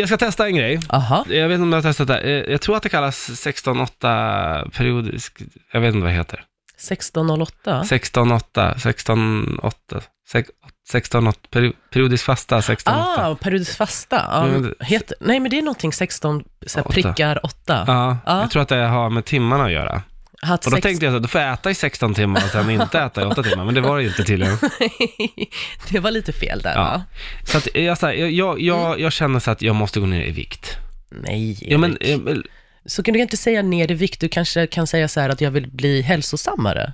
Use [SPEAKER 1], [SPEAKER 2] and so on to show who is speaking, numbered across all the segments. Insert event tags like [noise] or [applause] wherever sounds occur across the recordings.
[SPEAKER 1] Jag ska testa en grej.
[SPEAKER 2] Aha.
[SPEAKER 1] Jag vet inte om jag har testat det här. Eh, Jag tror att det kallas 16-8 periodisk... Jag vet inte vad det heter.
[SPEAKER 2] 1608?
[SPEAKER 1] 16-8, 16-8, 16-8, peri- periodisk fasta 16-8.
[SPEAKER 2] Ah, periodisk fasta. Ja,
[SPEAKER 1] Men-
[SPEAKER 2] heter, nej, men det är någonting 16 så här,
[SPEAKER 1] Åtta.
[SPEAKER 2] prickar 8.
[SPEAKER 1] Ja,
[SPEAKER 2] Ja.
[SPEAKER 1] jag tror att det har med timmarna att göra.
[SPEAKER 2] Att
[SPEAKER 1] Och då
[SPEAKER 2] sex-
[SPEAKER 1] tänkte jag så här, då får jag äta i 16 timmar och sen inte äta i 8 timmar, men det var det ju inte tydligen.
[SPEAKER 2] [laughs] det var lite fel där,
[SPEAKER 1] Ja.
[SPEAKER 2] va?
[SPEAKER 1] Så att jag, så här, jag, jag, jag, jag känner så att jag måste gå ner i vikt.
[SPEAKER 2] Nej,
[SPEAKER 1] Ja, men,
[SPEAKER 2] Erik.
[SPEAKER 1] eh, men-
[SPEAKER 2] Så kan du inte säga ner i vikt, du kanske kan säga så här att jag vill bli hälsosammare.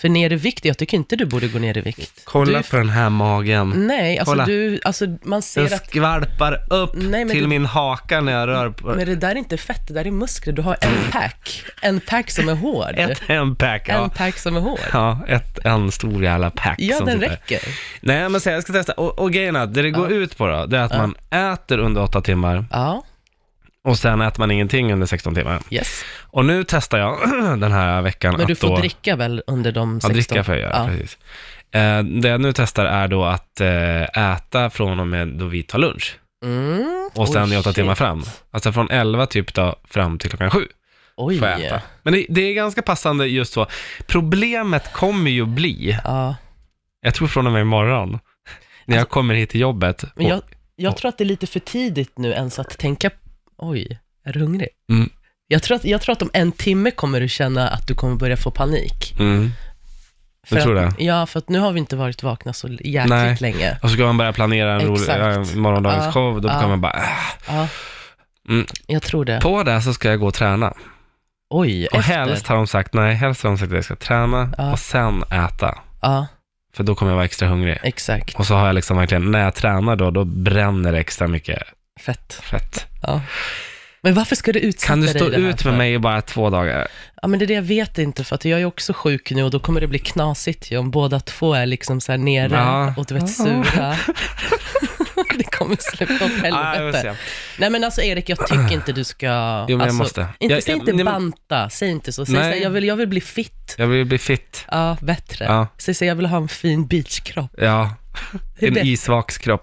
[SPEAKER 2] För ner i vikt, jag tycker inte du borde gå ner i vikt.
[SPEAKER 1] kolla
[SPEAKER 2] du,
[SPEAKER 1] på den här magen.
[SPEAKER 2] Nej, alltså
[SPEAKER 1] Kolla.
[SPEAKER 2] du, alltså man
[SPEAKER 1] Den
[SPEAKER 2] ser att,
[SPEAKER 1] skvalpar upp
[SPEAKER 2] Nej, men
[SPEAKER 1] till
[SPEAKER 2] det-
[SPEAKER 1] min haka när jag rör på...
[SPEAKER 2] men det där är inte fett, det där är muskler, du har
[SPEAKER 1] [clears throat]
[SPEAKER 2] en pack, en pack som är hård.
[SPEAKER 1] Ett en pack, ja.
[SPEAKER 2] En pack som är hård.
[SPEAKER 1] Ja, ett, en stor jävla pack.
[SPEAKER 2] Ja,
[SPEAKER 1] som
[SPEAKER 2] den
[SPEAKER 1] sitter.
[SPEAKER 2] räcker.
[SPEAKER 1] Nej, men så här, jag ska testa. Och, och grejen är, att det det går ut på då, det är att man äter under 8 timmar
[SPEAKER 2] Ja,
[SPEAKER 1] och sen äter man ingenting under 16 timmar.
[SPEAKER 2] yes.
[SPEAKER 1] Och nu testar jag [clears throat] den här veckan
[SPEAKER 2] Men
[SPEAKER 1] att
[SPEAKER 2] du får
[SPEAKER 1] då...
[SPEAKER 2] dricka väl under de 16?
[SPEAKER 1] Ja, dricka får jag göra,
[SPEAKER 2] Ja.
[SPEAKER 1] precis. Eh, det jag nu testar är då att eh, äta från och med då vi tar lunch.
[SPEAKER 2] Mm.
[SPEAKER 1] Och sen
[SPEAKER 2] Oj,
[SPEAKER 1] i åtta
[SPEAKER 2] shit.
[SPEAKER 1] timmar fram. Alltså från 11 typ då fram till klockan 7
[SPEAKER 2] Oj.
[SPEAKER 1] får jag äta. Men det, det är ganska passande just så. Problemet kommer ju bli,
[SPEAKER 2] Ja.
[SPEAKER 1] jag tror från och med imorgon, när jag kommer hit till jobbet. Och,
[SPEAKER 2] Alltså, Men jag, jag tror att det är lite för tidigt nu ens att tänka, oj, är du hungrig?
[SPEAKER 1] Mm.
[SPEAKER 2] Jag, tror att, jag tror att om en timme kommer du känna att du kommer börja få panik.
[SPEAKER 1] mm.
[SPEAKER 2] För
[SPEAKER 1] Du tror
[SPEAKER 2] att,
[SPEAKER 1] det?
[SPEAKER 2] Ja, för att nu har vi inte varit vakna så jäkligt
[SPEAKER 1] Nej.
[SPEAKER 2] länge.
[SPEAKER 1] Och så ska man börja planera en rolig,
[SPEAKER 2] Exakt.
[SPEAKER 1] eh, morgondagens
[SPEAKER 2] Ja,
[SPEAKER 1] show, då
[SPEAKER 2] ja.
[SPEAKER 1] kan man bara, äh.
[SPEAKER 2] Ja.
[SPEAKER 1] Mm.
[SPEAKER 2] Jag tror det.
[SPEAKER 1] på det så ska jag gå och träna.
[SPEAKER 2] Oj,
[SPEAKER 1] Och
[SPEAKER 2] efter.
[SPEAKER 1] helst har de sagt, nej, helst har de sagt att jag ska träna
[SPEAKER 2] Ja.
[SPEAKER 1] och sen äta.
[SPEAKER 2] Ja,
[SPEAKER 1] För då kommer jag vara extra hungrig.
[SPEAKER 2] exakt.
[SPEAKER 1] Och så har jag liksom verkligen, när jag tränar då, då bränner det extra mycket
[SPEAKER 2] Fett.
[SPEAKER 1] fett.
[SPEAKER 2] Ja. Men varför ska du utsätta
[SPEAKER 1] Kan du
[SPEAKER 2] dig
[SPEAKER 1] stå
[SPEAKER 2] i det här
[SPEAKER 1] ut
[SPEAKER 2] för?
[SPEAKER 1] med mig i bara två dagar?
[SPEAKER 2] Ja, men det är det jag vet inte, för att jag är också sjuk nu och då kommer det bli knasigt ju om båda två är liksom så här nere
[SPEAKER 1] Ja.
[SPEAKER 2] och du
[SPEAKER 1] [laughs]
[SPEAKER 2] vet sura. det kommer släppa åt
[SPEAKER 1] Ja, jag vill
[SPEAKER 2] helvete.
[SPEAKER 1] se.
[SPEAKER 2] Nej men alltså Erik, jag tycker inte du ska...
[SPEAKER 1] Jo, men jag
[SPEAKER 2] alltså,
[SPEAKER 1] måste.
[SPEAKER 2] Inte,
[SPEAKER 1] Jag-
[SPEAKER 2] säg
[SPEAKER 1] jag-
[SPEAKER 2] inte
[SPEAKER 1] nej, men-
[SPEAKER 2] banta, säg inte så. Säg så
[SPEAKER 1] Nej.
[SPEAKER 2] här, jag, vill, jag vill bli fit.
[SPEAKER 1] Jag vill bli fit.
[SPEAKER 2] Ja, bättre.
[SPEAKER 1] Ja.
[SPEAKER 2] Säg så här, jag vill ha en fin beachkropp.
[SPEAKER 1] Ja,
[SPEAKER 2] Det är
[SPEAKER 1] en
[SPEAKER 2] bättre.
[SPEAKER 1] isvaks kropp.